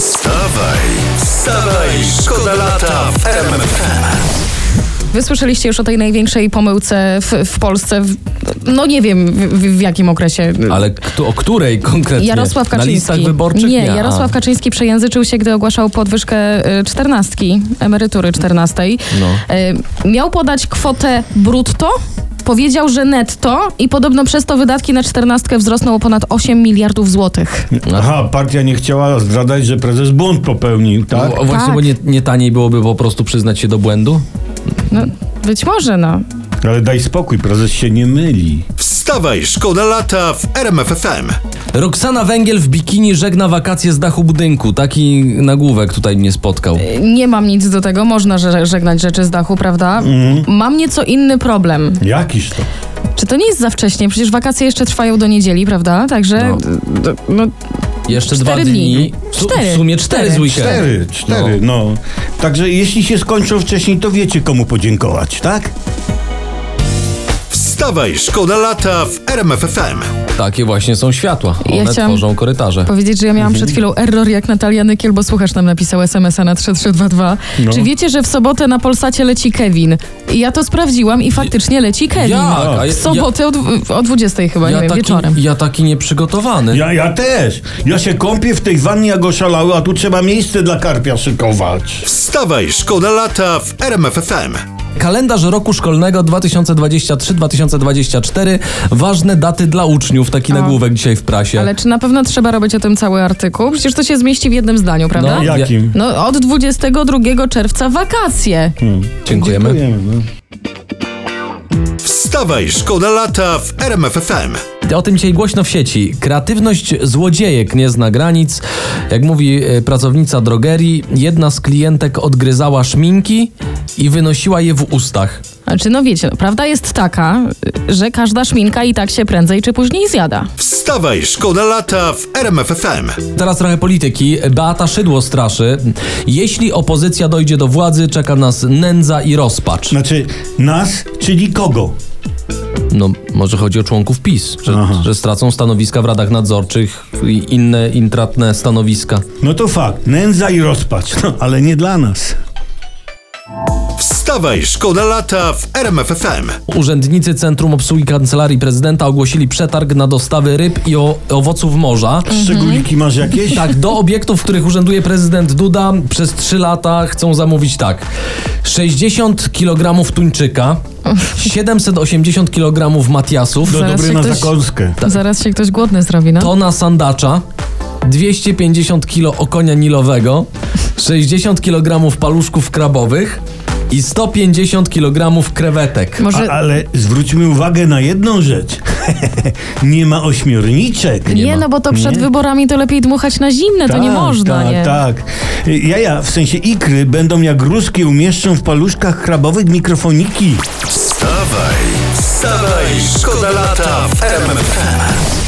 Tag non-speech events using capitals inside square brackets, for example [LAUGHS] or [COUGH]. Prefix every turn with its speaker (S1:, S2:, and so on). S1: Wstawaj, wstawaj, szkoda lata w RMFFM.
S2: Wy słyszeliście już o tej największej pomyłce w, w Polsce, w, no nie wiem w, w, w jakim okresie.
S3: Ale kto, o której konkretnie?
S2: Jarosław Kaczyński.
S3: Na listach wyborczych?
S2: Nie,
S3: A.
S2: Jarosław Kaczyński przejęzyczył się, gdy ogłaszał podwyżkę y, czternastki, emerytury czternastej.
S3: No.
S2: Y, Miał podać kwotę brutto, powiedział, że netto i podobno przez to wydatki na czternastkę wzrosną o ponad 8 miliardów złotych.
S4: Aha, partia nie chciała zdradzać, że prezes błąd popełnił, tak?
S3: W- Właśnie,
S2: Tak.
S3: bo nie, nie taniej byłoby po prostu przyznać się do błędu?
S2: No, być może, no.
S4: Ale daj spokój, prezes się nie myli.
S1: Wstawaj, szkoda lata w RMFFM.
S3: Roxana Węgiel w bikini żegna wakacje z dachu budynku. Taki nagłówek tutaj mnie spotkał.
S2: Nie mam nic do tego, można że- żegnać rzeczy z dachu, prawda?
S3: Mhm.
S2: Mam nieco inny problem.
S4: Jakiż to?
S2: Czy to nie jest za wcześnie? Przecież wakacje jeszcze trwają do niedzieli, prawda? Także
S3: No.
S2: d- no,
S3: Jeszcze dwa
S2: Cztery
S3: dni.
S2: dni.
S3: W su-
S2: Cztery.
S3: W sumie cztery,
S2: Cztery.
S3: z weekendu.
S4: Cztery, cztery, no. Także jeśli się skończą wcześniej, to wiecie komu podziękować, tak?
S1: Wstawaj, szkoda lata w RMFFM.
S3: Takie właśnie są światła.
S2: Ja
S3: One
S2: chciałam-
S3: tworzą korytarze.
S2: powiedzieć, że ja miałam przed chwilą error jak Natalia Nykiel, bo słuchacz nam napisał SMS-a na 3322.
S4: No.
S2: Czy wiecie, że w sobotę na Polsacie leci Kevin? I ja to sprawdziłam i faktycznie leci Kevin.
S3: Jak? A ja-
S2: W sobotę o, dw- o 20 chyba, nie
S3: ja,
S2: wiem,
S3: taki,
S2: wieczorem.
S3: ja taki nieprzygotowany.
S4: Ja, ja też. Ja się kąpię w tej wannie, jak oszalały, a tu trzeba miejsce dla karpia szykować.
S1: Wstawaj, szkoda lata w RMFFM.
S3: Kalendarz roku szkolnego 2023-2024. Ważne daty dla uczniów. Taki nagłówek dzisiaj w prasie.
S2: Ale czy na pewno trzeba robić o tym cały artykuł? Przecież to się zmieści w jednym zdaniu, prawda?
S3: No,
S2: No,
S3: ja-
S4: Jakim?
S2: od 22 czerwca wakacje.
S3: Hmm. Dziękujemy.
S4: Wiemy, no.
S1: Wstawaj, szkoda lata w RMFFM.
S3: O tym dzisiaj głośno w sieci. Kreatywność złodziejek nie zna granic. Jak mówi e, pracownica drogerii, jedna z klientek odgryzała szminki i wynosiła je w ustach.
S2: Znaczy, no wiecie, no, prawda jest taka, y, że każda szminka i tak się prędzej czy później zjada.
S1: Wstawaj, szkoda lata w RMFFM.
S3: Teraz trochę polityki. Beata Szydło straszy. Jeśli opozycja dojdzie do władzy, czeka nas nędza i rozpacz.
S4: Znaczy, nas, czyli kogo?
S3: No, może chodzi o członków PiS, że, że stracą stanowiska w radach nadzorczych i inne intratne stanowiska.
S4: No to fakt, nędza i rozpacz, no, ale nie dla nas.
S1: Wstawaj, szkoda lata w RMFFM.
S3: Urzędnicy Centrum Obsługi Kancelarii Prezydenta ogłosili przetarg na dostawy ryb i o, owoców morza.
S4: Szczególiki masz jakieś?
S3: Tak, do obiektów, w których urzęduje prezydent Duda przez 3 lata chcą zamówić tak. 60 kg tuńczyka, 780 kg matiasów,
S4: No
S2: Zaraz
S4: dobry
S2: się
S4: na
S2: ktoś-
S4: zakąskę.
S2: Zaraz się ktoś głodny zrobi, no.
S3: tona sandacza, 250 kg okonia nilowego, 60 kg paluszków krabowych i 150 kg krewetek.
S2: Może
S4: A, ale zwróćmy uwagę na jedną rzecz. [LAUGHS] nie ma ośmiorniczek.
S2: nie, no bo to przed wyborami to lepiej dmuchać na zimne, to nie można,
S4: tak,
S2: nie?
S4: Tak. Y, Jaja, w sensie ikry, będą jak ruski umieszczą w paluszkach krabowych mikrofoniki.
S1: Wstawaj, wstawaj, szkoda lata w RMFFM.